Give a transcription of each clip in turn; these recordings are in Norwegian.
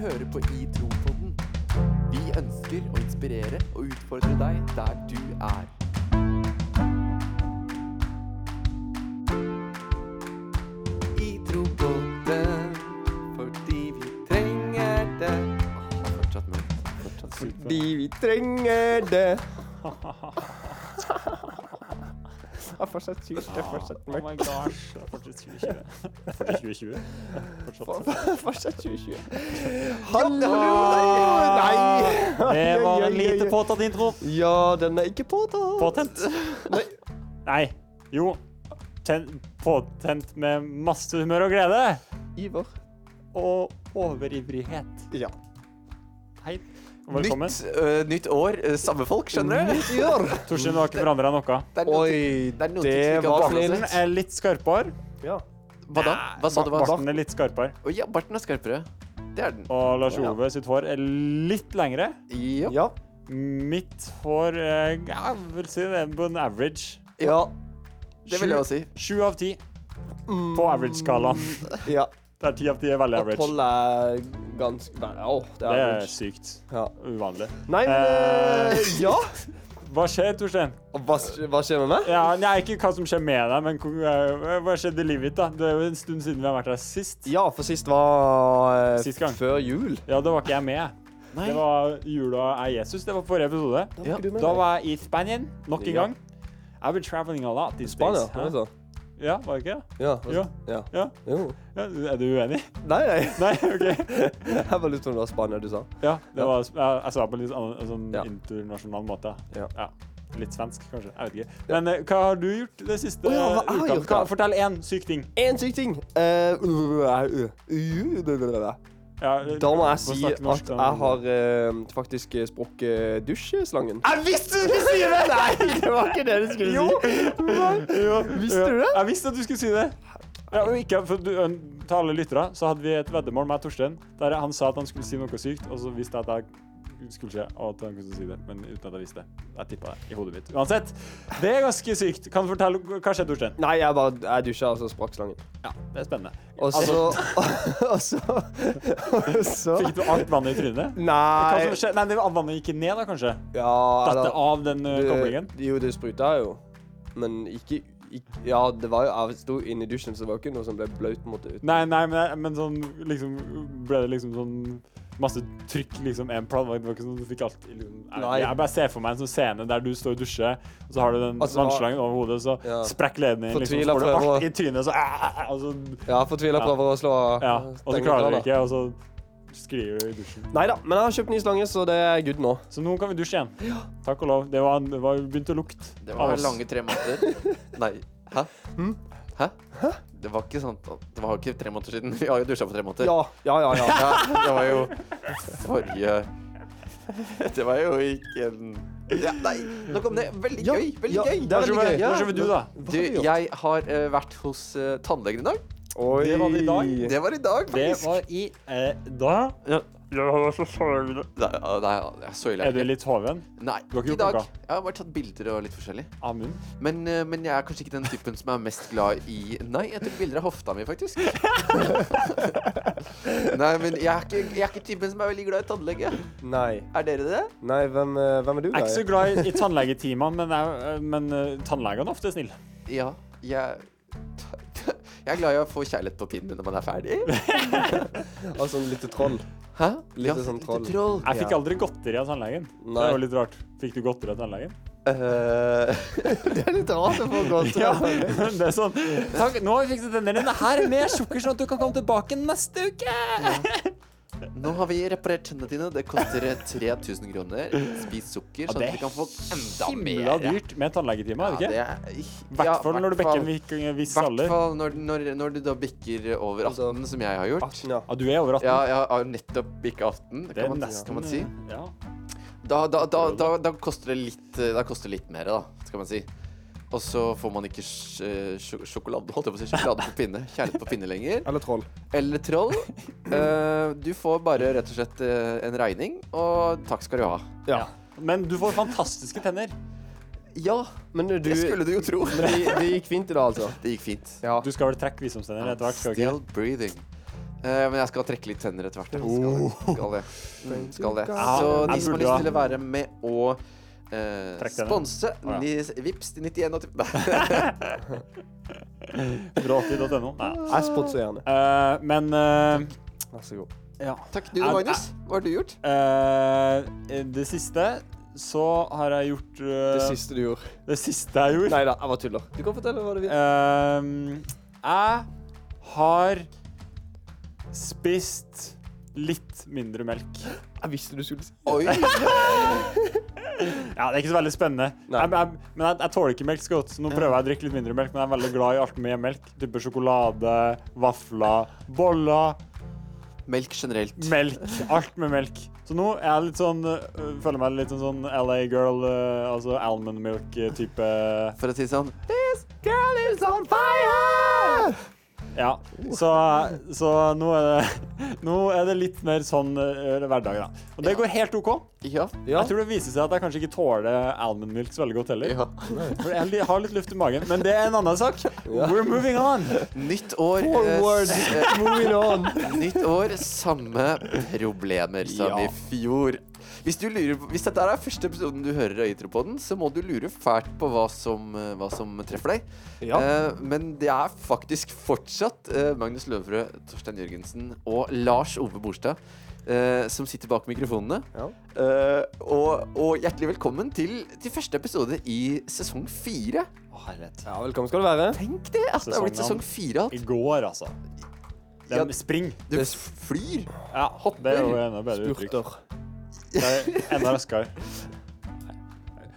hører på I Tropodden. Vi ønsker å inspirere og utfordre deg der du er. I Tropodden, fordi vi trenger det. Åh, det er fortsatt mørkt. Fortsatt mørkt. Fordi vi trenger det. Det er fortsatt surt. Det er fortsatt Oh mørkt. my gosh. Det er fortsatt 2020. Fortsatt 2020. Fortsatt. Fortsatt 2020. Hallo! Nei! Det var en lite på... påtatt intro. Ja, den er ikke påtatt. Påtent. Nei. Nei. Jo. Ten, påtent med masse humør og glede. Ivar. Og overivrighet. Ja. Hei. og Velkommen. Nytt, øh, nytt år, øh, samme folk, skjønner du? Ivar. Torstein, du har ikke forandra noe. Det er noen ting- Oi, det er noen ting som det ikke har var forandret snill. Den er litt skarpere. Ja. Hva da? Hva sa du? Hva? Barten er litt skarpere. Å ja, barten er skarpere. Det er den. Og Lars Å, ja. Ove sitt hår er litt lengre. Ja. Ja. Mitt hår eh, Jeg vil si det er på en average. Ja. Det vil jeg også si. Sju av ti på average-skalaen. Ja. Der ti av ti er veldig At average. Pål er ganske Nei, Å, det Det er er average. sykt. Ja. Uvanlig. Nei, men eh, Eh. Ja. Hva skjer, Torstein? Hva, hva skjer med meg? Ja, nei, ikke hva som skjer med deg, men hvor- eh, hva skjedde i livet ditt? da? Det er jo en stund siden vi har vært her sist. Ja, for sist var eh, Sist gang. før jul. Ja, da var ikke jeg med. Nei. Det var jula er Jesus. Det var forrige episode. Da Ja, ikke du med, Da nei. var jeg i Spania nok en Ja. gang. I've been traveling a lot these Spania. days. var det Hæ? sånn? Ja, var det ikke det? Ja. Jo. Ja. Ja. Jo. ja. Er du uenig? Nei, nei. Nei, OK. Jeg bare lurte på om det var Spania du sa. Ja, det Ja. var, jeg, jeg sa det på en litt annen, en sånn Ja. internasjonal måte. Ja. Litt svensk, kanskje. Jeg vet ikke. Men eh, hva har du gjort det siste Å ja, hva eh, har jeg uka? gjort Hva, da? fortell én syk ting. En syk ting. Eh, Da Ja, må eh, jeg si snakke norsk, at da. jeg har eh, faktisk sprukket dusjeslangen. Jeg visste du skulle si det! Nei, det var ikke det du Jo! Jo, Visste du det? Jeg visste at du skulle si det. Ja, og ikke, for du, ø, til alle lyttere så hadde vi et veddemål med Torstein der han sa at han skulle si noe sykt, og så visste jeg at jeg skulle skje, og at han kunne si det, men uten at jeg visste det. Jeg tippa det i hodet mitt. Uansett, det er ganske sykt. Kan du fortelle hva skjedde, Torstein? Nei, jeg bare jeg dusja, og så sprakk slangen. Ja, det er spennende. Og så Altså- Og så Og så Fikk du alt vannet i trynet? Hva Nei. som skjedde? Nei, det var- vannet gikk ned da, kanskje? Ja, Datte av den ø, koblingen? det- Jo, det spruta jo. Men ikke, ikke Ja, det var jo Jeg sto inne i dusjen, så det var jo ikke noe som ble bløt. på en måte ut. Nei, nei, men, men sånn liksom Ble det liksom sånn masse trykk, liksom, en plan? Det var ikke sånn du fikk alt i liksom, Nei. jeg, jeg bare ser for meg en sånn scene der du står og dusjer, og så har du den Altså, vannslangen over hodet, så ja. sprekker leden din, liksom, så Fortvila får du prøver å- alt i trynet, så æ, og så Ja, fortvila Ja. prøver å slå Ja, og så stenge klarer du døra. det ikke, og så skriver du i dusjen. Nei da, men jeg har kjøpt ny slange, så det er good nå. Så nå kan vi dusje igjen. Takk og lov. Det, var, det var begynte å lukte Det av var oss. lange tre måneder. Nei. Hæ? Hm? Hæ? Det var ikke sant at- Det var ikke tre måneder siden. Vi har jo dusja for tre måneder. Ja, ja, ja. ja. Ja, det var jo forrige Det var jo ikke en ja, Nei, nok om det. Veldig Ja, gøy. Veldig ja, gøy. det er veldig Lars Ove, gøy. Ja, Lars Ove, du, men- da? Hva Du, har vi gjort? jeg har eh, vært hos eh, tannlegen i dag. Oi. Det var det i dag. Det var i dag, Det faktisk. var i eh, da Nei, nei, jeg er så ille. Er du litt hoven? Nei, Du har ikke i gjort dag. noe? Jeg har bare tatt bilder og litt forskjellig. Av munnen? Men, eh, men jeg er kanskje ikke den typen som er mest glad i Nei, jeg tok bilder av hofta mi, faktisk. Nei, men jeg er, ikke, jeg er ikke typen som er veldig glad i tannlege. Nei. Er dere det? Nei, hvem, eh, hvem er du, Jeg da? er ikke så glad i, i tannlegetimene, men, jeg- men eh, tannlegene er ofte snill. Ja. Jeg Jeg er glad i å få kjærlighet på pinnen når man er ferdig. Altså, en lite troll. Hæ? Litt Ja, sånn troll. Litt troll. Jeg fikk Ja. aldri godteri av tannlegen. Det Nei. er jo litt rart. Fikk du godteri av tannlegen? Eh, det er litt rart å få godt. Ja, det er sånn. Takk, nå har vi fikset tennene dine her med sukker, sånn at du kan komme tilbake neste uke. nå har vi reparert tennene dine. Det koster 3000 kroner. Spis sukker, sånn det at er du kan få enda mer. Himla dyrt med tannlegetimer, er det ikke? er I I hvert fall når du bekker en vik- en viss hvert alder. fall når, når, når du da bikker over 18, Altså, som jeg har gjort. 18, ja. Ja, du er over 18. Ja, jeg har nettopp bikka 18, Det er kan man, nesten, kan man si. eh, Ja. Da, da, da, da, da koster det litt eh, Da koster det litt mer, da, skal man si. Og så får man ikke sj- eh, sj- sjokolade holdt jeg på å si, sjokolade på pinne kjærlighet på pinne lenger. Eller troll. Eller troll. Eh, du får bare rett og slett eh, en regning, og takk skal du ha. Ja. Men du får fantastiske tenner. Ja, Men eh, du det skulle du jo tro. men det, det gikk fint i dag, altså? Det gikk fint. Ja. Du skal vel trekke visdomstenner etter hvert? skal du ikke? Still breathing. Eh, men jeg skal trekke litt tenner etter hvert. jeg. Skal det. Skal det. Mm, Skal det. Ja, Så de som har jeg burde lyst ha- til å være med å eh, Trekke tenner. sponse Å, ja. ni- Vips til 9180 Bråtid.no. Nei. Jeg sponser gjerne. Eh, men eh, Vær så god. ja. Takk, du da, Magnus. Hva har du gjort? Eh, det siste så har jeg gjort eh, Det siste du gjorde. det siste jeg gjorde Nei da, jeg bare tuller. Eh. Du kan fortelle hva du vil. Ehm, jeg har spist litt mindre melk. Jeg visste du skulle si Oi! Ja, Det er ikke så veldig spennende. Nei. Jeg, jeg, men jeg, jeg tåler ikke melk så godt, så nå prøver jeg å drikke litt mindre melk. Men jeg er veldig glad i alt med melk. Type sjokolade, vafler, boller, Melk generelt. melk. Alt med melk. Så nå er jeg litt sånn øh, Føler meg litt sånn, sånn LA girl, øh, altså almond milk-type. For å si det sånn This girl is on fire! Ja. Så, så nå, er det, nå er det litt mer sånn øh, hverdag, da. Og det går helt OK. Ja. Ja. Jeg tror det viser seg at jeg kanskje ikke tåler almond milk så veldig godt heller. ja. For jeg har litt luft i magen, men det er en annen sak. We're moving on. Nytt år. eh, Forward, s- eh, moving on. Nytt år, samme problemer som Ja. i fjor. Hvis, du lurer, på- hvis dette er første episoden du hører av Intropoden, så må du lure fælt på hva som, eh, hva som treffer deg. Ja. Eh, men det er faktisk fortsatt eh, Magnus Løvrød, Torstein Jørgensen og Lars Ove Borstad eh, som sitter bak mikrofonene. Ja. Eh, og, og hjertelig velkommen til, til første episode i sesong fire. ja, velkommen skal du være. Tenk det! At det har blitt sesong Sesongen. fire alt. I går, altså. De Ja. spring. Det flyr! Ja, hopper. Det er jo enda bedre uttrykk. Spurter. Det er Enda raskere.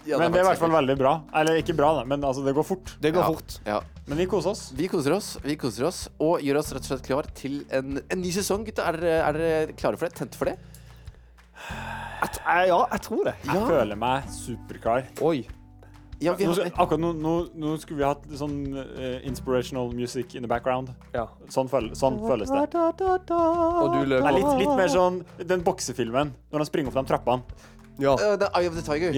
Ja, Men det er i faktisk hvert fall veldig bra. Eller ikke bra, da, men altså, det går fort. Det går Ja. fort. Ja. Men vi koser oss. Vi koser oss vi koser oss og gjør oss rett og slett klar til en, en ny sesong. Gutta, er dere- er dere klare for det? Tente for det? Jeg t- eh, ja, jeg tror det. Jeg føler meg superklar. Oi. ja vi Nå, har, akkurat nå, nå, nå skulle vi hatt litt sånn eh, inspirational music in the background. Ja. Sånn, føl sånn føles det. Og du løper. Det er litt, litt mer sånn den boksefilmen når han springer opp de trappene. Ja. Eh, The Eye of the Tiger.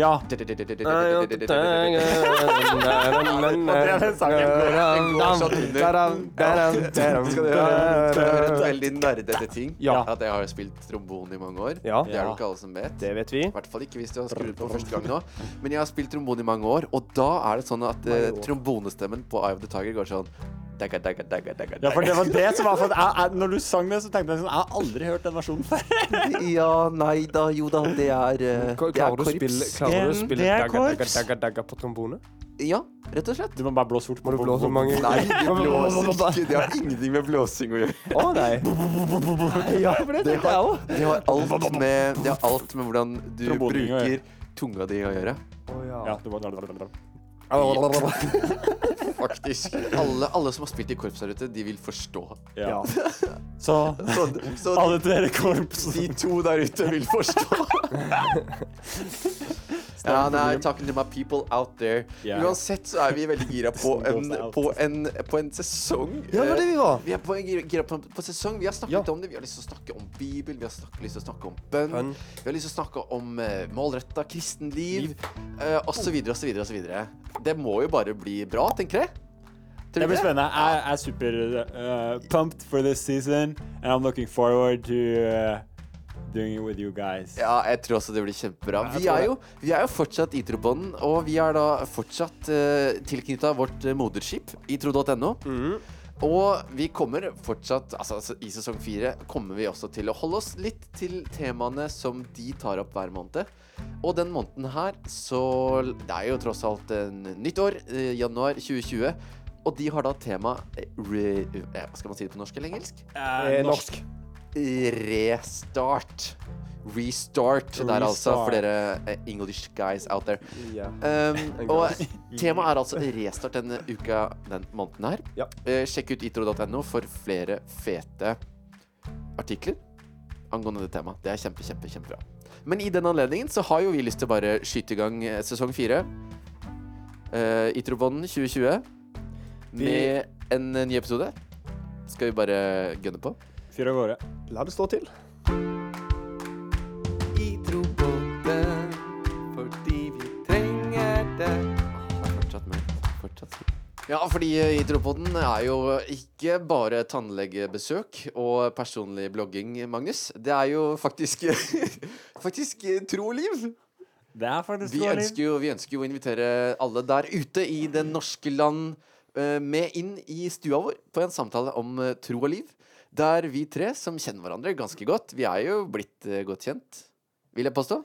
Ja. Skal dere høre et veldig nerdete ting? Ja. At jeg har spilt trombone i mange år. Ja. Det er det ikke alle som vet. Det vet vi. I hvert fall ikke hvis du har skrudd på første gang nå. Men jeg har spilt trombone i mange år, og da er det sånn at eh, trombonestemmen på Eye of the Tiger går sånn dagga, dagga, dagga, dagga, Ja, for det dagga. var det som var for at jeg, jeg, Når du sang det, så tenkte jeg sånn Jeg har aldri hørt den versjonen før. Ja, nei da, jo da, det er eh, Det er Klarer du å spille, korps. klarer du å Det- spille det er dagga, dagga, korps. dagga, dagga på trombone? Ja, rett og slett. Du må bare blåse fort. Må du blåse mange Nei, det blåser ikke. Det har ingenting med blåsing å gjøre. Å, nei. Ja, for det tenkte jeg òg. Det har alt med, det har alt med hvordan du Tromboning å bruker tunga di å gjøre. Ja, du må Nei, Faktisk. Alle, alle som har spilt i korps der ute, de vil forstå. ja. Så Så, så alle dere korps de to der ute vil forstå. Ja, nei, talking to my people out there. Ja. Uansett så er vi veldig gira på en, på en, på en sesong. Ja, det var det vi var. Vi er på, gira- gira på, på sesong. Vi har snakket Ja. om det. Vi har lyst til å snakke om Bibel, vi har snak, lyst til å snakke om bønn. Bønn. Vi har lyst til å snakke om uh, målretta kristenliv eh, og så videre og så videre og så videre. Det må jo bare bli bra, tenker jeg. Det Tror du blir spennende. Jeg jeg er super uh, pumped for this season, and I'm looking forward to uh, doing it with you guys. Ja, jeg tror også det blir kjempebra. jeg Vi tror er det. jo, vi er jo fortsatt Itrobånden, og vi er da fortsatt uh, tilknytta vårt eh, moderskip, itro.no. Mm. Og vi kommer fortsatt, altså altså, i sesong fire, kommer vi også til å holde oss litt til temaene som de tar opp hver måned. Og den måneden her, så Det er jo tross alt en nytt år, eh, januar 2020. Og de har da tema eh, re, eh, Skal man si det på norsk eller engelsk? Eh, Norsk. Restart. Restart der, altså, for Restart. dere eh, English guys out there. Ja. Um, og temaet er altså restart denne uka, den måneden her. Ja. Eh, sjekk ut itro.no for flere fete artikler angående det temaet. Det er kjempe, kjempe, kjempebra. Men i den anledningen så har jo vi lyst til å bare skyte i gang eh, sesong fire. Uh, Itrobonden 2020 Vi- med en eh, ny episode. Skal vi bare gønne på? Fyr av gårde. La det stå til. Vi tror på deg fordi vi trenger deg. Fortsatt med. Fortsatt. Ja, fordi eh, Hydropoden er jo ikke bare tannlegebesøk og personlig blogging, Magnus. Det er jo faktisk, faktisk eh, troliv. Det er faktisk Vi ønsker, jo, vi ønsker jo å invitere alle der ute i det norske land eh, med inn i stua vår på en samtale om eh, tro og liv. Der vi tre, som kjenner hverandre ganske godt Vi er jo blitt eh, godt kjent, vil jeg påstå.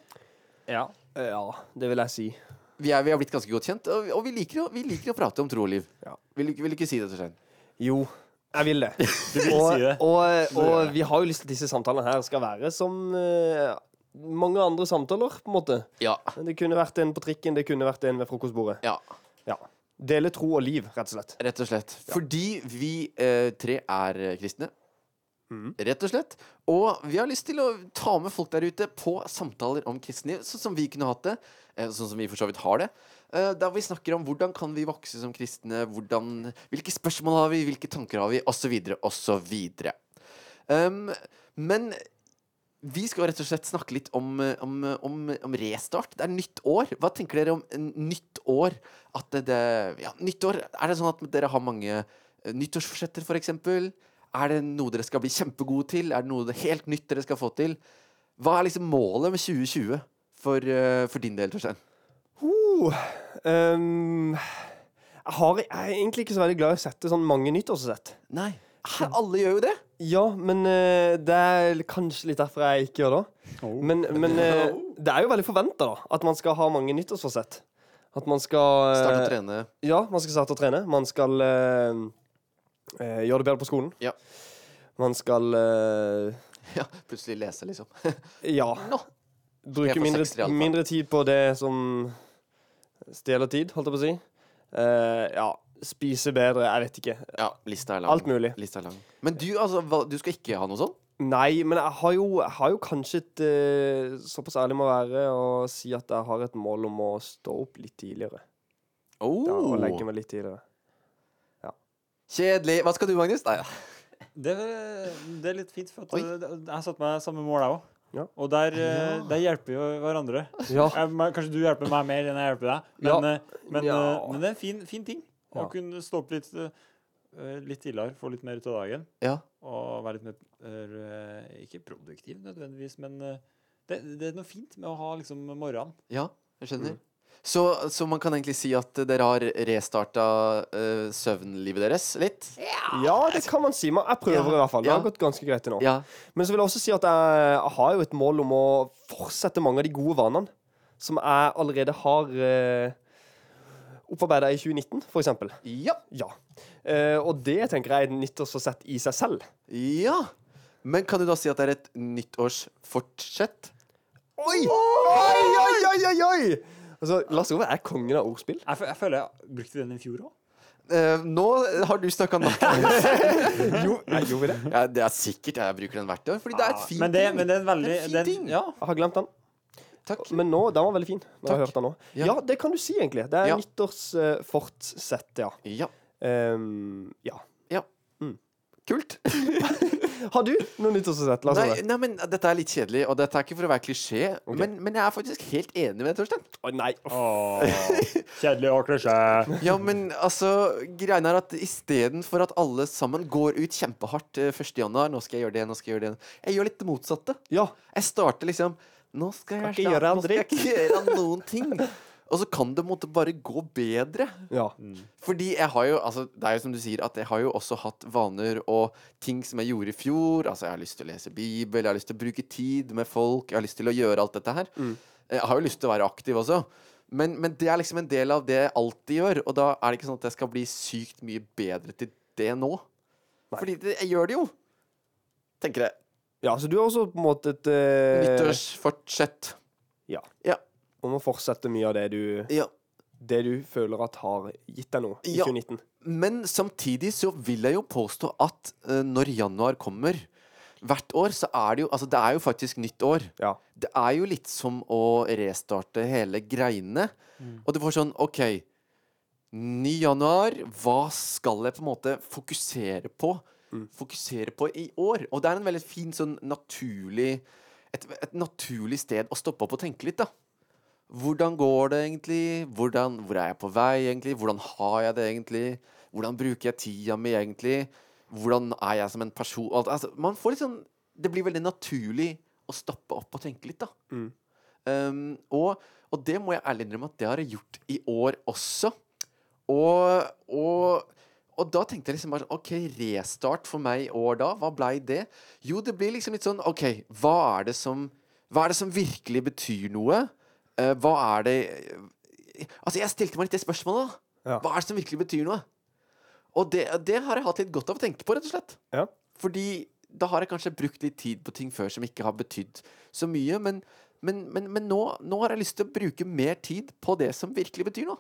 Ja. Ja, det vil jeg si. Vi, er, vi har blitt ganske godt kjent, og, og vi, liker å, vi liker å prate om tro og liv. Ja. Vil, du- vil du ikke si det, Torstein? Jo, jeg vil det. Du vil si Og, det. og, gjør jeg og det. vi har jo lyst til at disse samtalene her skal være som eh, mange andre samtaler, på en måte. Ja. Det kunne vært en på trikken, det kunne vært en ved frokostbordet. ja. Ja. Dele tro og liv, rett og slett. Rett og slett. Fordi vi eh, tre er eh, kristne. Rett og slett. Og vi har lyst til å ta med folk der ute på samtaler om kristenliv, sånn som vi kunne hatt det. eh, Sånn som vi for så vidt har det. Eh, Der vi snakker om hvordan kan vi vokse som kristne, hvordan, hvilke spørsmål har vi, hvilke tanker har vi, osv., osv. Um, men vi skal rett og slett snakke litt om, eh, om, om, om restart. Det er nytt år. Hva tenker dere om en nytt år? At det, det, ja, nytt år, er det sånn at dere har mange eh, nyttårsforsetter, for eksempel? Er det noe dere skal bli kjempegode til? Er det noe helt nytt dere skal få til? Hva er liksom målet med 2020 for, eh, for din del, Torstein? Uh, ehm, jeg, har, jeg er egentlig ikke så veldig glad i å sette sånn mange nyttårsforsett. Nei, hæ, alle gjør jo det! Ja, men eh, det er kanskje litt derfor jeg ikke gjør det. Oh. Men, men eh, det er jo veldig forventa, da. At man skal ha mange nyttårsforsett. At man skal eh, Starte å trene. Ja, man skal starte å trene. Man skal eh, eh, gjøre det bedre på skolen. Ja. Man skal eh, Ja, plutselig lese, liksom. ja. Nå! Bruke får mindre, sekser i alle fall. mindre tid på det som stjeler tid, holdt jeg på å si. Eh, ja. Spise bedre. Jeg vet ikke. Ja, lista er lang. Alt mulig. Lista er lang. Men du, altså, hva, du skal ikke ha noe sånn? sånt? Nei, men jeg har jo, jeg har jo kanskje et eh, Såpass ærlig må jeg være å si at jeg har et mål om å stå opp litt tidligere. Ja, Oh, og legge meg litt tidligere. kjedelig. Hva skal du, Magnus? Nei, ja. Det, det er litt fint, for at Oi. det- det- jeg har satt meg samme mål, jeg òg. Ja. Og der, eh, der hjelper jo hverandre. Ja. Jeg, men kanskje du hjelper meg mer enn jeg hjelper deg, men, Ja. eh, men, Ja. eh, men det er en fin, fin ting å Ja. kunne stå opp litt, eh, eh, litt tidligere, få litt mer ut av dagen Ja. og være litt mer eh, Ikke produktiv nødvendigvis, men eh, det, det er noe fint med å ha liksom morgenen. Ja, jeg skjønner. Mm. Så, så man kan egentlig si at dere har restarta eh, søvnlivet deres litt? ja, det kan man si. Men jeg prøver Ja. i hvert fall. Det Ja. har gått ganske greit til nå. Ja. Men så vil jeg også si at jeg har jo et mål om å fortsette mange av de gode vanene som jeg allerede har eh, opparbeida i 2019, for eksempel. Ja. Ja. Eh, og det tenker jeg er et nyttårsforsett i seg selv. ja. Men kan du da si at det er et nyttårsfortsett? Oi! Oi, oi, oi, oi, oi! Altså, Lars Ove er kongen av ordspill. Jeg, fø- jeg føler jeg brukte den i fjor òg. Eh, nå har du snakka nok. Jo, nei, gjorde vi det? ja, det er sikkert jeg bruker den hvert år, fordi det er et fint Ah. Men, det- men det er en veldig Det er en fin det er en- ting. Ja. Jeg har glemt den. Takk. Men nå, den var veldig fin. Når jeg Takk. hørte den nå. Ja. Ja. det kan du si, egentlig. Det er Ja. nyttårsfortsett, ja. Ja. Ehm, ja. Mm. ja. Kult. Har du noe nyttårsforsett? Lars Ove? Nei, nei, men dette er litt kjedelig, og dette er ikke for å være klisjé, men, men jeg er faktisk helt enig med deg, Torstein. Å, nei. Uff. Kjedelig og klisjé. Ja, men altså, greia er at istedenfor at alle sammen går ut kjempehardt eh, 1. januar Nå skal jeg gjøre det, nå skal jeg gjøre det Jeg gjør litt det motsatte. Ja. Jeg starter liksom Nå skal jeg, Kan ikke gjøre nå skal jeg ikke gjøre noen ting. Og så kan det på en måte bare gå bedre. ja. Fordi jeg har jo, altså det er jo som du sier, at jeg har jo også hatt vaner og ting som jeg gjorde i fjor. Altså jeg har lyst til å lese Bibel, jeg har lyst til å bruke tid med folk, jeg har lyst til å gjøre alt dette her. Eh, Jeg har jo lyst til å være aktiv også. Men, men det er liksom en del av det jeg alltid gjør, og da er det ikke sånn at jeg skal bli sykt mye bedre til det nå. Fordi det, jeg gjør det jo. Tenker jeg. Ja, så du har også på en måte et eh, Nyttårsfortsett. Ja. Ja. Om å fortsette mye av det du, Ja. det du føler at har gitt deg noe i Ja. 2019. Men samtidig så vil jeg jo påstå at eh, når januar kommer hvert år, så er det jo Altså, det er jo faktisk nytt år. Ja. Det er jo litt som å restarte hele greiene. Og du får sånn OK, ny januar, hva skal jeg på en måte fokusere på? Fokusere på i år? Og det er en veldig fin sånn naturlig et, et naturlig sted å stoppe opp og tenke litt, da. Hvordan går det egentlig? Hvordan, hvor er jeg på vei egentlig? Hvordan har jeg det egentlig? Hvordan bruker jeg tida mi egentlig? Hvordan er jeg som en person? Alt, altså, man får litt sånn Det blir veldig naturlig å stoppe opp og tenke litt, da. Mm. Um, og, og det må jeg ærlig innrømme at det har jeg gjort i år også. Og, og, og da tenkte jeg liksom bare sånn OK, restart for meg i år da. Hva blei det? Jo, det blir liksom litt sånn OK, hva er det som, hva er det som virkelig betyr noe? Eh, hva er det Altså, jeg stilte meg litt det spørsmålet, da. Ja. Hva er det som virkelig betyr noe? Og det, det har jeg hatt litt godt av å tenke på, rett og slett. Ja. Fordi da har jeg kanskje brukt litt tid på ting før som ikke har betydd så mye, men, men, men, men nå, nå har jeg lyst til å bruke mer tid på det som virkelig betyr noe.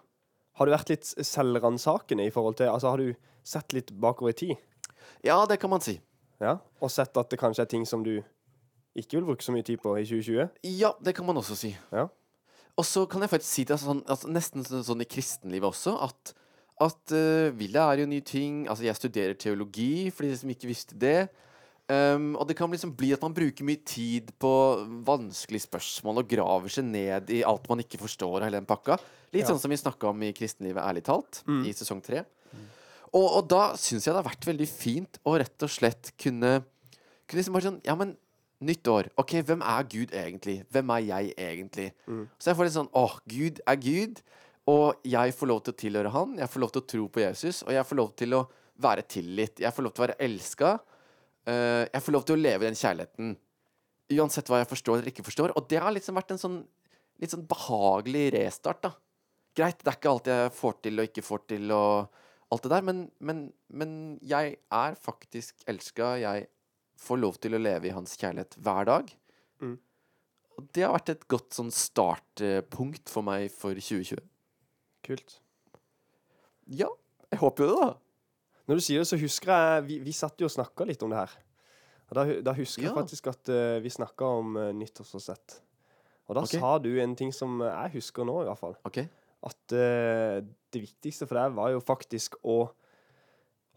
Har du vært litt selvransakende i forhold til Altså, har du sett litt bakover i tid? Ja, det kan man si. Ja. Og sett at det kanskje er ting som du ikke vil bruke så mye tid på i 2020? Ja, det kan man også si. Ja. Og så kan jeg faktisk si det sånn, altså nesten sånn, sånn i kristenlivet også, at, at eh, vi lærer jo nye ting. Altså, jeg studerer teologi, for de som ikke visste det. Ehm, og det kan liksom bli at man bruker mye tid på vanskelige spørsmål og graver seg ned i alt man ikke forstår av hele den pakka. Litt Ja. Mm. sånn som vi snakka om i Kristenlivet ærlig talt, i sesong tre. Og, og da syns jeg det har vært veldig fint å rett og slett kunne kunne liksom bare sånn Ja, men nytt år. Ok, hvem er Gud egentlig? Hvem er jeg egentlig? Så jeg får litt sånn Åh, Gud er Gud. Og jeg får lov til å tilhøre Han. Jeg får lov til å tro på Jesus. Og jeg får lov til å være tilgitt. Jeg får lov til å være elska. eh, jeg får lov til å leve i den kjærligheten. Uansett hva jeg forstår eller ikke forstår. Og det har liksom vært en sånn litt sånn behagelig restart, da. Greit, det er ikke alt jeg får til og ikke får til og alt det der, men, men, men jeg er faktisk elska. Jeg får lov til å leve i hans kjærlighet hver dag. Mm. Og det har vært et godt sånn startpunkt for meg for 2020. Kult. Ja, jeg håper jo det, da. Når du sier det, så husker jeg Vi, vi satt jo og snakka litt om det her. Og da, hu- da husker Ja. jeg faktisk at eh, vi snakka om uh, nyttårsforsett. Og da Ok. sa du en ting som jeg husker nå, i hvert fall. Ok. At eh, det viktigste for deg var jo faktisk å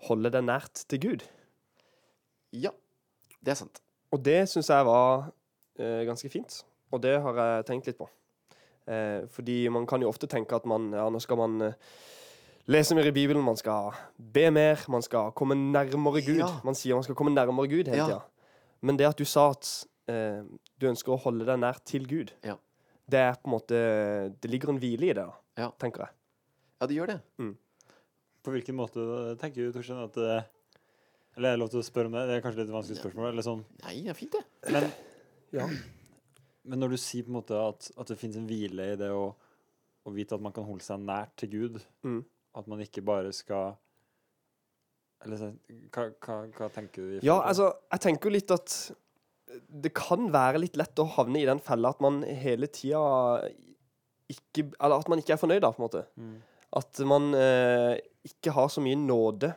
holde deg nært til Gud. Ja, det er sant. Og det syns jeg var eh, ganske fint, og det har jeg tenkt litt på. Eh, fordi man kan jo ofte tenke at man, ja, nå skal man eh, lese mer i Bibelen, man skal be mer, man skal komme nærmere Gud. Ja. Man sier man skal komme nærmere Gud hele Ja. tida. Men det at du sa at eh, du ønsker å holde deg nær til Gud, Ja. det er på en måte Det ligger en hvile i det, da, Ja. tenker jeg. Ja, det gjør det. På hvilken måte eh, tenker du, Torstein, at eh, Eller er det lov til å spørre om det? Det er kanskje litt vanskelig spørsmål. Eller sånn. Nei, det er fint, det. Men, Ja. men når du sier på en måte at, at det fins en hvile i det å, å vite at man kan holde seg nært til Gud, Mm. at man ikke bare skal Eller så- hva, hva, hva tenker du? i forhold Ja, til det? altså, jeg tenker jo litt at det kan være litt lett å havne i den fella at man hele tida ikke Eller at man ikke er fornøyd, da, på en måte. Mm. At man eh, ikke har så mye nåde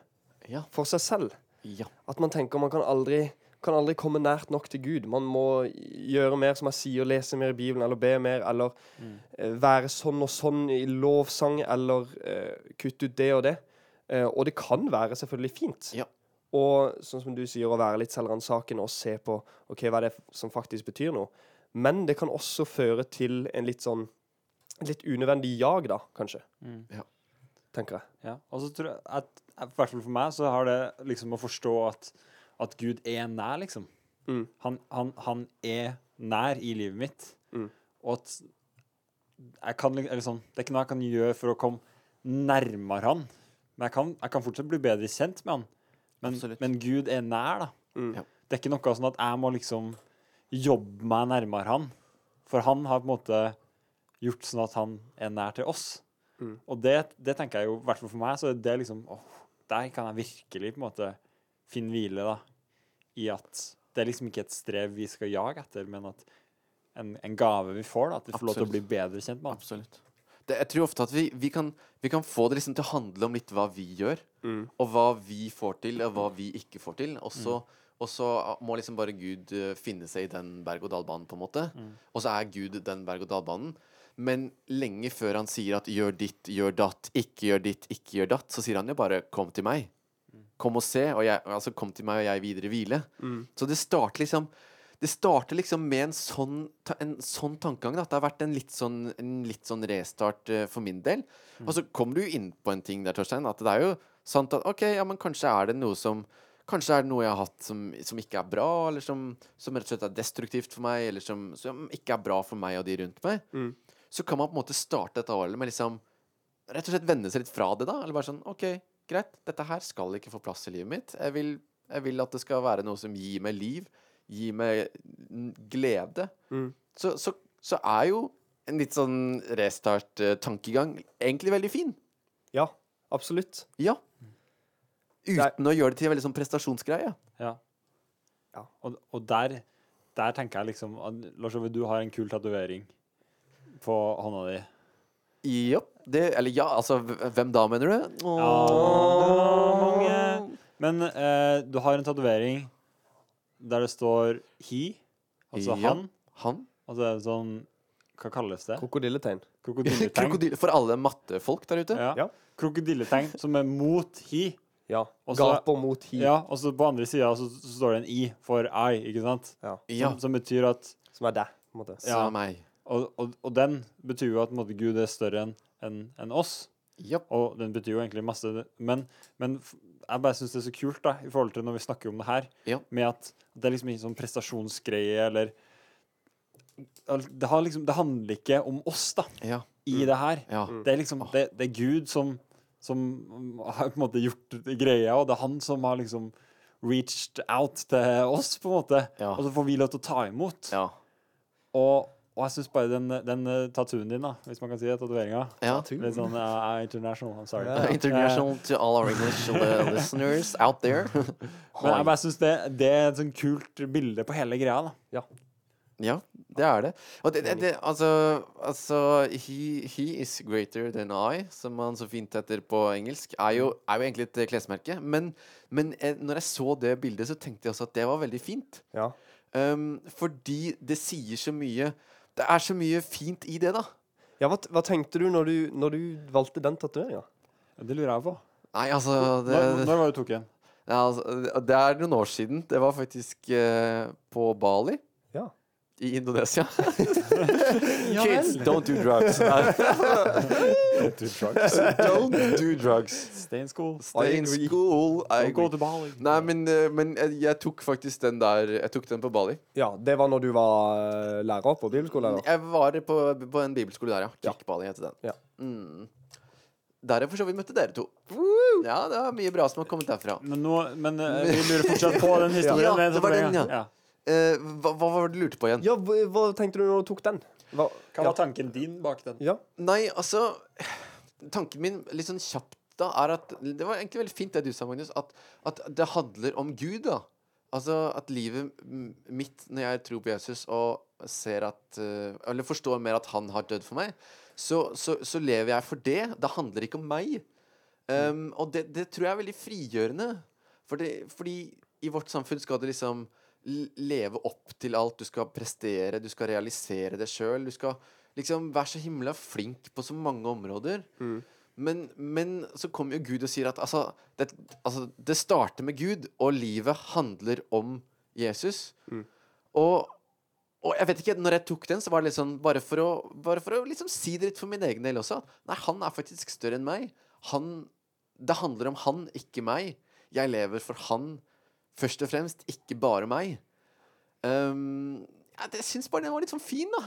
Ja. for seg selv. Ja. At man tenker man kan aldri, kan aldri komme nært nok til Gud. Man må gjøre mer, som jeg sier, lese mer i Bibelen, eller be mer, eller Mm. eh, være sånn og sånn i lovsang, eller eh, kutte ut det og det. Eh, og det kan være selvfølgelig fint. Ja. Og sånn som du sier, å være litt selvransakende og se på ok, hva er det som faktisk betyr noe. Men det kan også føre til en litt sånn et litt unødvendig jag, da, kanskje. Mm. Tenker jeg. Ja, og så tror jeg at, at i hvert fall for meg, så har det liksom å forstå at, at Gud er nær, liksom. Mm. Han, han, han er nær i livet mitt. Mm. Og at jeg kan liksom Eller sånn, det er ikke noe jeg kan gjøre for å komme nærmere han. Men jeg kan, jeg kan fortsatt bli bedre kjent med han. Men, Absolutt. men Gud er nær, da. Mm. Ja. Det er ikke noe sånn at jeg må liksom jobbe meg nærmere han. For han har på en måte gjort sånn at han er nær til oss. Mm. Og det, det tenker jeg jo, i hvert fall for meg, så er det liksom åh, Der kan jeg virkelig på en måte finne hvile, da. I at det er liksom ikke et strev vi skal jage etter, men at en, en gave vi får, da. At vi får lov til å Absolutt. bli bedre kjent med han. Absolutt. Det, jeg tror ofte at vi, vi, kan, vi kan få det liksom til å handle om litt hva vi gjør, Mm. og hva vi får til, og hva vi ikke får til. Og så, og så må liksom bare Gud eh, finne seg i den berg-og-dal-banen, på en måte. Og så er Gud den berg-og-dal-banen. Men lenge før han sier at 'gjør ditt, gjør datt', 'ikke gjør ditt, ikke gjør datt', så sier han jo bare 'kom til meg'. Kom og se, og jeg, altså kom til meg, og jeg videre hvile. Så det starter liksom Det starter liksom med en sånn, ta- en sånn tankegang. da, At det har vært en litt sånn, en litt sånn restart eh, for min del. Og så kommer du jo inn på en ting der, Torstein, at det er jo sant at OK, ja, men kanskje er det noe som Kanskje er det noe jeg har hatt som, som ikke er bra, eller som, som rett og slett er destruktivt for meg, eller som, som ikke er bra for meg og de rundt meg. Mm. Så kan man på en måte starte dette året med liksom Rett og slett vende seg litt fra det, da. Eller bare sånn OK, greit, dette her skal ikke få plass i livet mitt. Jeg vil, jeg vil at det skal være noe som gir meg liv, gir meg n- glede. Mm. Så, så, så er jo en litt sånn restart-tankegang egentlig veldig fin. Ja, absolutt. Ja. er- Uten å gjøre det til en veldig sånn prestasjonsgreie. Ja. Ja. Og, og der, der tenker jeg liksom at, Lars Ove, du har en kul tatovering på hånda di. Jopp. Det, eller ja, altså hv- Hvem da, mener du? Åh. Åh. Men eh, du har en tatovering der det står he, altså Ja. han. Han? Og så er det sånn Hva kalles det? Krokodilletegn. Krokodilletegn. Krokodille. For alle mattefolk der ute? Ja. Ja. Krokodilletegn som er mot he. Ja. Og så- Gaper mot hi, Ja, og så på andre sida så, så står det en i for I, ikke sant? Ja. Ja, Som, som betyr at som er deg. på en måte. sa ja. meg. og, og, og den betyr jo at på en måte, Gud er større enn enn- enn oss. Jopp. Og den betyr jo egentlig masse Men, men f- jeg bare syns det er så kult, da, i forhold til når vi snakker om det her, Ja. med at det er liksom ikke sånn prestasjonsgreie, eller al- det, har liksom, det handler ikke om oss, da, Ja. i det her. Mm. ja. Det er liksom det, det er Gud som, som har på en måte gjort greia, og det er han som har liksom reached out til oss, på en måte. Ja. Og så får vi lov til å ta imot. Ja. Og, og jeg syns bare den, den eh, tattooen din, da, hvis man kan si det, tatoveringa ja. Litt sånn eh, international, I'm sorry. Ja. International to all our English uh, listeners out there. Eh, Men jeg bare syns det, det er et sånn kult bilde på hele greia. da. Ja. Ja, det er det. Og det, det, det altså, altså he, he is greater than I, som han så fint heter på engelsk, er jo, er jo egentlig et eh, klesmerke. Men, men eh, når jeg så det bildet, så tenkte jeg også at det var veldig fint. Ja. Um, fordi det sier så mye Det er så mye fint i det, da. ja hva, hva tenkte du når du, når du valgte den tatoveringa? Det lurer jeg på. Nei, altså det, Når, når var det du tok den? ja, altså, det er noen år siden. Det var faktisk eh, på Bali. Ja. I Indonesia. Ja Kids, vel. don't do drugs. Nei, don't do drugs. Stay in school. Stay in agree. school. I Don't go agree. to Bali. Nei, men, eh, men jeg, jeg tok faktisk den der Jeg tok den på Bali. Ja, det var når du var eh, lærer på bibelskolelærer. Jeg var på, på en bibelskole der, ja. Kikk Bali heter den. Ja. Mm. Der jeg for så vidt møtte dere to. Ja, det er mye bra som har kommet derfra. Men, nå, men eh, vi lurer fortsatt på den historien. Ja, sånn med det var den, tatoveringen. ja. Eh, hva, hva var det du lurte på igjen? Ja, hva, hva tenkte du når du tok den? Hva, Hva var tanken din bak den? ja. Nei, altså Tanken min litt sånn kjapt da er at Det var egentlig veldig fint det du sa, Magnus. At, at det handler om Gud, da. Altså at livet m- mitt, når jeg tror på Jesus og ser at eh, Eller forstår mer at han har dødd for meg, så, så, så lever jeg for det. Det handler ikke om meg. Um, og det, det tror jeg er veldig frigjørende. For det, fordi i vårt samfunn skal du liksom l- leve opp til alt. Du skal prestere, du skal realisere det sjøl. Du skal liksom være så himla flink på så mange områder. Men, men så kommer jo Gud og sier at altså det, altså, det starter med Gud, og livet handler om Jesus. Og, og jeg vet ikke, når jeg tok den, så var det litt sånn Bare for å, bare for å liksom si det litt for min egen del også. Nei, han er faktisk større enn meg. Han, det handler om han, ikke meg. Jeg lever for han først og fremst, ikke bare meg. Ehm, ja, det- jeg syns bare den var litt sånn fin, da.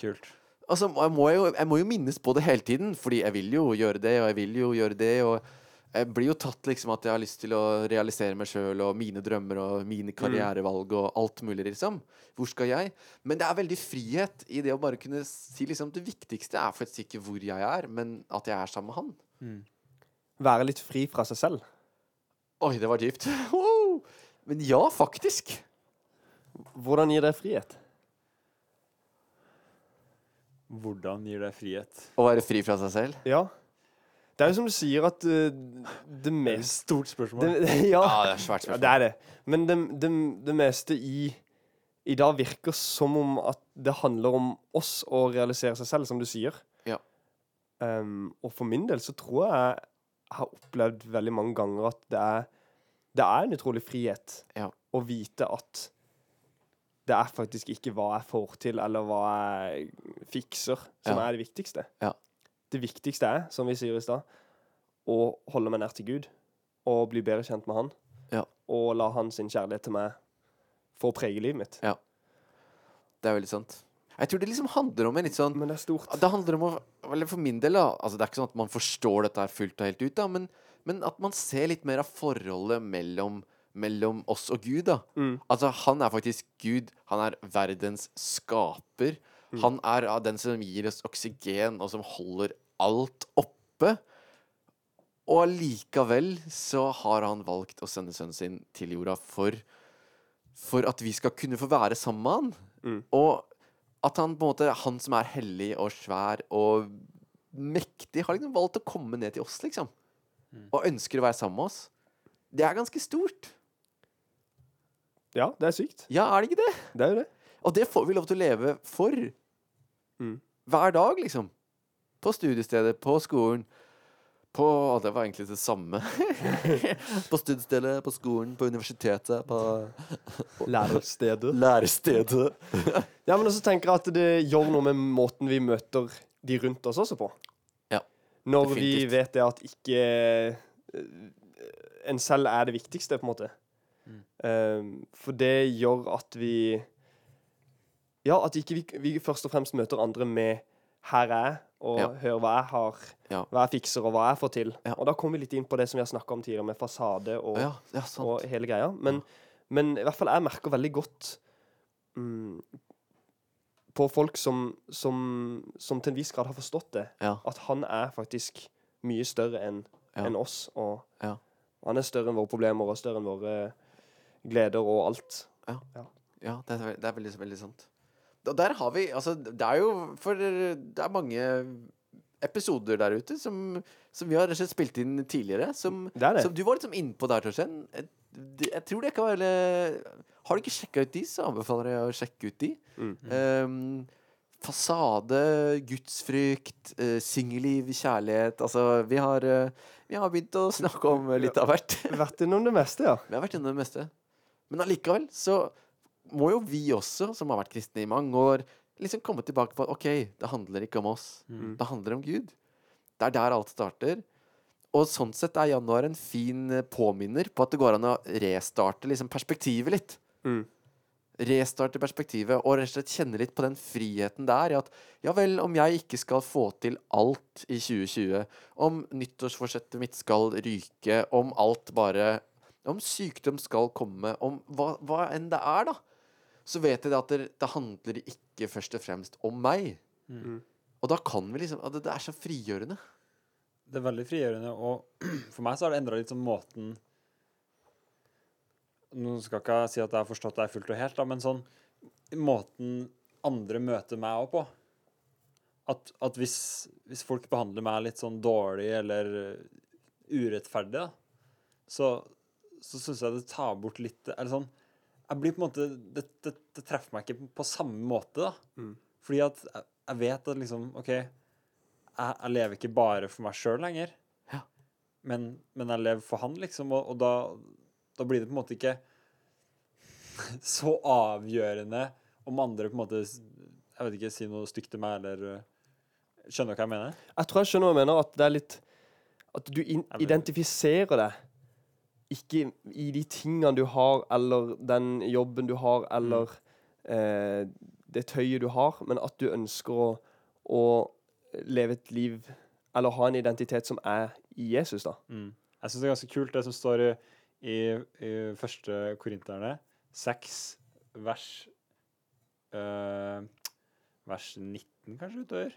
Kult. Altså, jeg må, jo, jeg må jo minnes på det hele tiden, fordi jeg vil jo gjøre det, og jeg vil jo gjøre det, og jeg blir jo tatt liksom at jeg har lyst til å realisere meg sjøl og mine drømmer og mine karrierevalg og alt mulig, liksom. Hvor skal jeg? Men det er veldig frihet i det å bare kunne si liksom det viktigste er faktisk ikke hvor jeg er, men at jeg er sammen med han. Være litt fri fra seg selv. Oi, det var dypt. Wow! Men ja, faktisk. Hvordan gir det frihet? Hvordan gir det frihet? Å være fri fra seg selv. Ja. Det er jo som du sier, at eh, det meste Stort spørsmål. det, Ja. Ja, det er svært Ja, spørsmål. det er det. Men det, det, det meste i, i dag virker som om at det handler om oss å realisere seg selv, som du sier. Ja. Ehm, og for min del så tror jeg jeg har opplevd veldig mange ganger at det er, det er en utrolig frihet Ja. å vite at det det er faktisk ikke hva jeg får til, eller hva jeg fikser, som Ja. er det viktigste. Ja. Det viktigste er, som vi sier i stad, å holde meg nær til Gud, og bli bedre kjent med Han, Ja. og la Hans kjærlighet til meg få prege livet mitt. Det er veldig sant. Jeg tror det liksom handler om en litt sånn Men det er stort. Det handler om å Eller for min del, da. Altså, det er ikke sånn at man forstår dette her fullt og helt ut, da, men, men at man ser litt mer av forholdet mellom mellom oss og Gud, da. Mm. Altså, han er faktisk Gud. Han er verdens skaper. Han er av den som gir oss oksygen, og som holder alt oppe. Og allikevel så har han valgt å sende sønnen sin til jorda for For at vi skal kunne få være sammen med han. Mm. Og at han på en måte Han som er hellig og svær og mektig, har liksom valgt å komme ned til oss, liksom. Og ønsker å være sammen med oss. Det er ganske stort. Ja, det er sykt. Ja, er det ikke det? Det er jo det. Og det får vi lov til å leve for. Mm. Hver dag, liksom. På studiestedet, på skolen. På å, Det var egentlig det samme. på studiestedet, på skolen, på universitetet, på Lærestedet. lærestedet. Ja, men også tenker jeg at det gjør noe med måten vi møter de rundt oss også på. Ja, Når vi definitivt. vet det at ikke eh, en selv er det viktigste, på en måte. Mm. Eh, for det gjør at vi Ja, at ikke vi, vi først og fremst møter andre med 'her er jeg', og Ja. 'hør hva jeg har', Ja. 'hva jeg fikser', og 'hva jeg får til'. Ja. Og da kommer vi litt inn på det som vi har snakka om tidligere, med fasade og Ja, ja, sant. og hele greia. Men, men i hvert fall jeg merker veldig godt mm, på folk som, som, som til en viss grad har forstått det, Ja. at han er faktisk mye større enn Ja. enn oss. Og Ja. han er større enn våre problemer og større enn våre gleder og alt. Ja, det er, ve- det er veldig, veldig sant. Og der har vi Altså, det er jo For det er mange episoder der ute som, som vi har rett og slett spilt inn tidligere, som, Det er det. som du var liksom innpå der, Torstein. Jeg, det- jeg tror det kan være Har du ikke sjekka ut de, så anbefaler jeg å sjekke ut de. Mm. Ehm, fasade, gudsfrykt, eh, singelliv, kjærlighet Altså, vi har, eh, vi har begynt å snakke om eh, litt av hvert. Vært innom det meste, ja. Vi har vært innom det meste. Men allikevel så må jo vi også, som har vært kristne i mange år, liksom komme tilbake på at OK, det handler ikke om oss. Det handler om Gud. Det er der alt starter. Og sånn sett er januar en fin eh, påminner på at det går an å restarte liksom perspektivet litt. Mm. Restarte perspektivet og rett og slett kjenne litt på den friheten det er i at ja vel, om jeg ikke skal få til alt i 2020, om nyttårsforsettet mitt skal ryke, om alt bare Om sykdom skal komme, om hva, hva enn det er, da, så vet jeg det at det, det handler ikke først og fremst om meg. Og da kan vi liksom at Det, det er så frigjørende. Det er veldig frigjørende, og for meg så har det endra litt sånn måten Nå skal ikke jeg si at jeg har forstått deg fullt og helt, da, men sånn Måten andre møter meg òg på. At, at hvis, hvis folk behandler meg litt sånn dårlig eller urettferdig, da, så, så syns jeg det tar bort litt Eller sånn Jeg blir på en måte Det, det, det treffer meg ikke på samme måte, da. Fordi at jeg, jeg vet at liksom OK jeg, jeg lever ikke bare for meg sjøl lenger. Ja. Men, men jeg lever for han, liksom. Og, og da, da blir det på en måte ikke så avgjørende om andre på en måte s- Jeg vet ikke, sier noe stygt til meg, eller øh, Skjønner du hva jeg mener? Jeg tror jeg skjønner hva jeg mener, at det er litt At du in men- identifiserer deg ikke i de tingene du har, eller den jobben du har, eller eh, det tøyet du har, men at du ønsker å, å leve et liv Eller ha en identitet som er i Jesus, da. Mm. Jeg syns det er ganske kult, det som står i, i, i første korinterne, seks vers øh, Vers 19, kanskje, utover?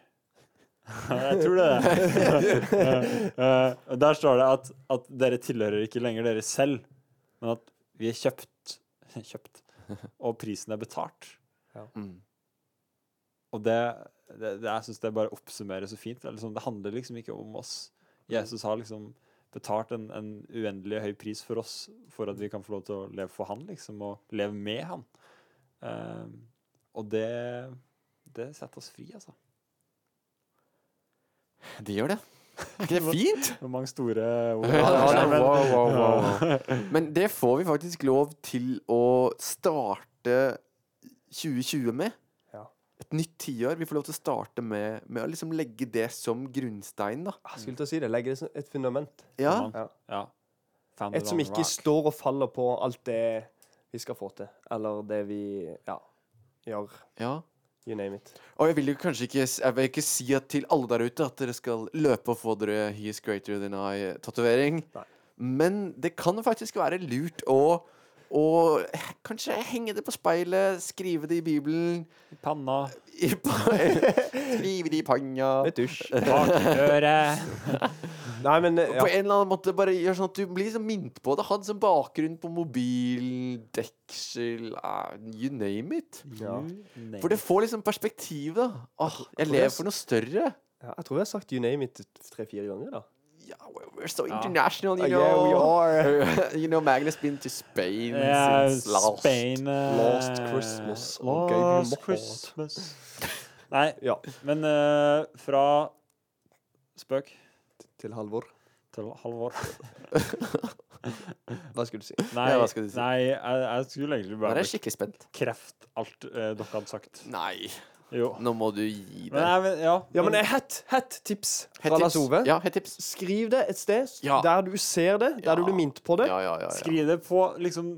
Jeg tror det. er det. Eh, eh, og der står det at, at dere tilhører ikke lenger dere selv, men at vi er kjøpt, kjøpt og prisen er betalt. Mm. Og det, det, det jeg syns det bare oppsummerer så fint. Det, er liksom, det handler liksom ikke om oss. Jesus har liksom betalt en, en uendelig høy pris for oss for at vi kan få lov til å leve for han, liksom, og leve med han. Eh, og det, det setter oss fri, altså. Det gjør det. Er ikke det fint? Det var mange store ord. Ja, det var det. Men- Wow, wow, wow, wow. Men det får vi faktisk lov til å starte 2020 med. Ja. Et nytt tiår. Vi får lov til å starte med, med å liksom legge det som grunnstein, da. Jeg skulle til å si det. Legge det som et fundament. Ja. Sånn. Ja. Ja. Found Et the som wrong ikke rock. står og faller på alt det vi skal få til. Eller det vi ja, gjør. ja. You name it. Og jeg vil jo kanskje ikke s- Jeg vil ikke si at til alle der ute at dere skal løpe og få dere He is greater than I-tatovering. Nei. Men det kan faktisk være lurt å å he- kanskje henge det på speilet, skrive det i Bibelen Panna. i pa- Skrive det i panga. Et dusj. Bakøret. Nei, men eh, På ja. en eller annen måte bare gjør sånn at du blir liksom minnet på det. Ha det som bakgrunn på mobil, deksel, eh, you name it. Ja. For det får liksom perspektiv, da. Åh, jeg lever for noe større. ja. Jeg tror jeg har sagt you name it tre-fire ganger, da. Yeah, we're, we're so Ja. international, you Ah, yeah, we know. are. you know, Magnus been to Spain Ja, since last. Spain eh, Last Christmas. Og gave him a Last heart. Christmas. Nei, Ja. men eh, fra spøk Til Halvor. til Halvor Hva skulle du si? Nei, Ja, hva skal du si? nei jeg, jeg skulle egentlig Nå er bare jeg skikkelig spent. bekrefte alt eh, dere hadde sagt. Nei, Jo. nå må du gi Men det. jeg, vil- ja, Ja, men eh, hett hett tips Hett fra tips. Lars Ove. Ja, hett tips. Skriv det et sted Ja. der du ser det, der Ja. du blir minnet på det. Ja, ja, ja. ja. Skriv det på liksom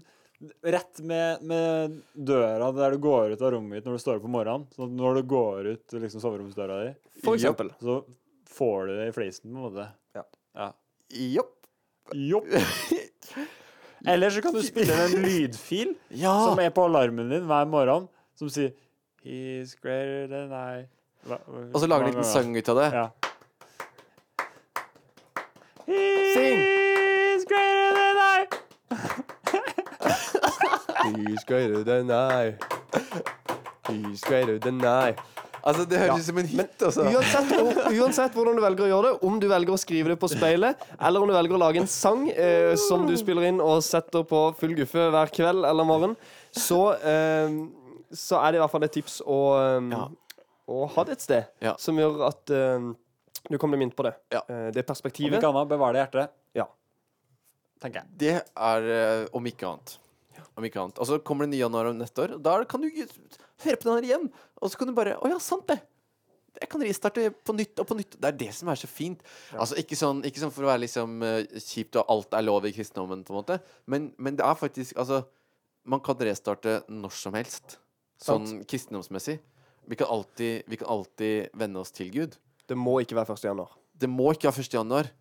rett med, med døra der du går ut av rommet ditt når du står opp om morgenen. Sånn at når du går ut liksom soveromsdøra di, For Jopp. eksempel. så får du det i fleisen, på en måte. Ja. ja. Jopp. Jopp. Eller så kan du spille inn en lydfil Ja. som er på alarmen din hver morgen, som sier He's greater than I Og så lager du en liten sang ut av det. Ja. Sing! He's greater than I He's greater than I. He's greater than I. Altså, det høres Ja. ut som en hit, altså. Uansett, hvor- uansett hvordan du velger å gjøre det, om du velger å skrive det på speilet, eller om du velger å lage en sang eh, som du spiller inn og setter på full guffe hver kveld eller morgen, så, eh, så er det i hvert fall et tips å, eh, Ja. å ha det et sted Ja. som gjør at eh, du kommer deg minnet på det. Ja. Eh, det Om perspektivet. ikke annet, bevar det i hjertet. Ja. Tenker jeg. Det er eh, om ikke annet. Om ikke annet. Og så kommer det 9. januar om neste år. og Da kan du ju- høre på den her igjen. Og så kan du bare Å ja, sant det! Jeg kan ristarte på nytt og på nytt. Det er det som er så fint. Altså Ikke sånn, ikke sånn for å være liksom eh, kjipt og alt er lov i kristendommen, på en måte. Men, men det er faktisk Altså, man kan restarte når som helst. Sånn kristendomsmessig. Vi kan, alltid, vi kan alltid vende oss til Gud. Det må ikke være 1. januar. Det må ikke være 1. januar.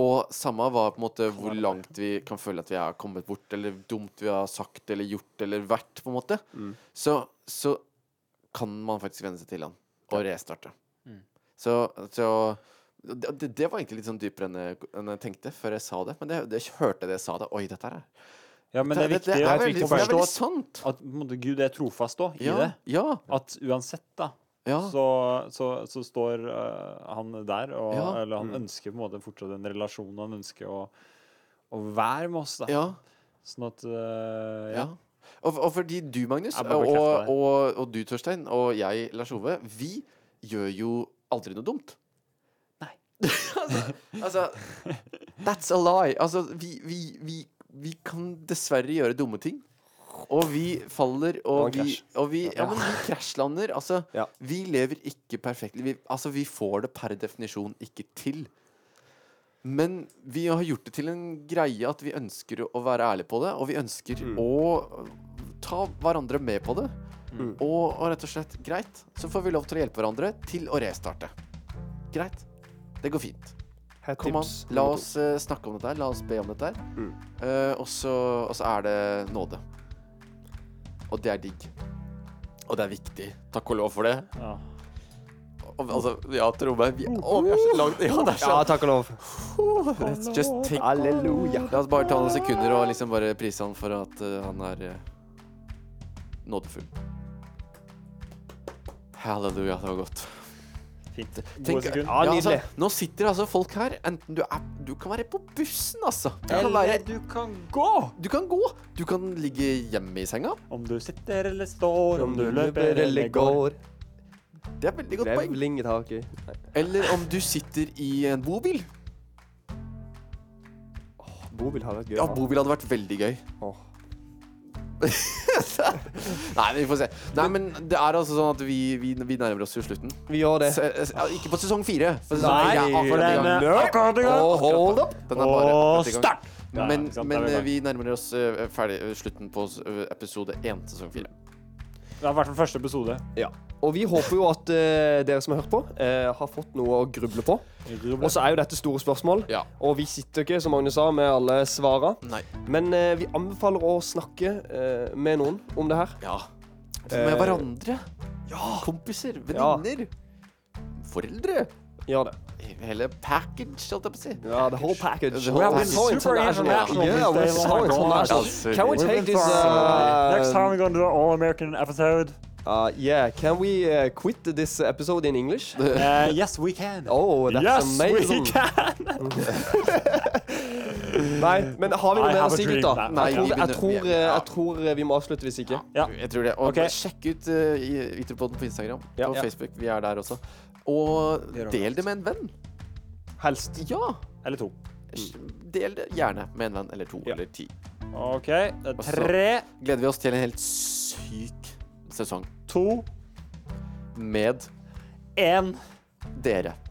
Og samme hva på en måte hvor langt vi kan føle at vi er kommet bort, eller dumt vi har sagt eller gjort eller vært, på en måte, Mm. så, så kan man faktisk venne seg til han og restarte. Mm. Så, så det, det- det var egentlig litt sånn dypere enn jeg, enn jeg tenkte før jeg sa det. Men det, det jeg hørte det jeg sa det. Oi, dette her er Ja, men det er det- viktig, det det er er veldig, viktig å det er forstå veldig at, sant. at på en måte, Gud er trofast da, i Ja, det. ja, At uansett, da, ja. så, så, så står eh, han der, og, Ja. eller han ønsker på en måte fortsatt en relasjon, og han ønsker å, å være med oss, da. ja. Sånn at eh, Ja. ja. Og, og fordi du, Magnus, Jeg og, bare bekrefter og, det. og, du, Torstein, og jeg, Lars Ove, vi gjør jo aldri noe dumt. Nei. altså, altså That's a lie. Altså, vi, vi, vi, vi kan dessverre gjøre dumme ting. Og vi faller, og Det var en vi, krasj. og vi, ja, men vi krasjlander. Altså, Ja. vi lever ikke perfekt. Vi, altså, vi får det per definisjon ikke til. Men vi har gjort det til en greie at vi ønsker å være ærlige på det, og vi ønsker Mm. å ta hverandre med på det. Mm. Og, og rett og slett, greit, så får vi lov til å hjelpe hverandre til å restarte. Greit. Det går fint. Hett Kom an, tips la nummer to. oss eh, snakke om dette her. La oss be om dette her. Eh, og, så, og så er det nåde. Og det er digg. Og det er viktig. Takk og lov for det. Ja. Og, altså, ja, tro meg. Vi, å, vi er så langt Ja, det er så Ja, takk og lov. Let's just take Halleluja. La oss bare ta noen sekunder og liksom bare prise han for at eh, han er eh, nådefull. Halleluja, det var godt. Fint. Tenk- Gode sekunder. Ja, altså, nydelig. nå sitter altså folk her. Enten du er Du kan være på bussen, altså. Du kan, være, Eller du kan gå! du kan gå. Du kan ligge hjemme i senga. Om du sitter eller står, Om du løper eller går, Det er veldig godt poeng. grevling i taket. Nei. Eller om du sitter i en bobil. Bobil har vært gøy. Ja, da. bobil hadde vært veldig gøy. Åh. Nei, vi får se. Nei, men det er altså sånn at vi, vi, vi nærmer oss jo slutten. Vi gjør det. Se, eh, ja, ikke på sesong fire. For sesong Eh. Nei, fire er akkurat i gang. den er akkurat i gang. Og hold up! Den er bare Og akkurat i gang. start! Ja, Men, ikke sant, men der er eh, vi i gang. vi nærmer oss eh, ferdig eh, slutten på eh, episode én, sesong fire. Det er i hvert fall første episode. Ja. Og vi håper jo at eh, dere som har hørt på, eh, har fått noe å gruble på. Og så er jo dette store spørsmål, Ja. og vi sitter ikke, som Magnus sa, med alle svara. Nei. Men eh, vi anbefaler å snakke eh, med noen om det her. Ja. Med Eh, hverandre. Kompiser. Venninner. Foreldre. Gjør det. Hele package, holdt jeg på å si. Ja, the whole package. The whole We're package. so Super international. international Yeah, we're these days. so Oh my God. international. Altså, Can we we're take We've been this far. uh, Next time we're gonna do an all-American episode. Uh, yeah, can we uh, quit this episode in English? Uh, yes, we can. Oh, that's yes, amazing. we can! Nei, men har vi noe I mer å have a si, dream. gutter? Nei, Jeg tror, vi jeg, begynner- tror, vi- eh, ja. jeg tror eh, vi må avslutte hvis ikke. Ja. Jeg tror det. Og Ok. sjekk ut uh, Ytterpodden på Instagram Ja. og Ja. Facebook. Vi er der også. Og Det gjør vi. del det med en venn. Helst. Ja. Eller to. Del det gjerne med en venn eller to Mm. Ja. eller ti. OK. det er Og så- Tre, Gleder vi oss til en helt syk sesong to, med én. dere.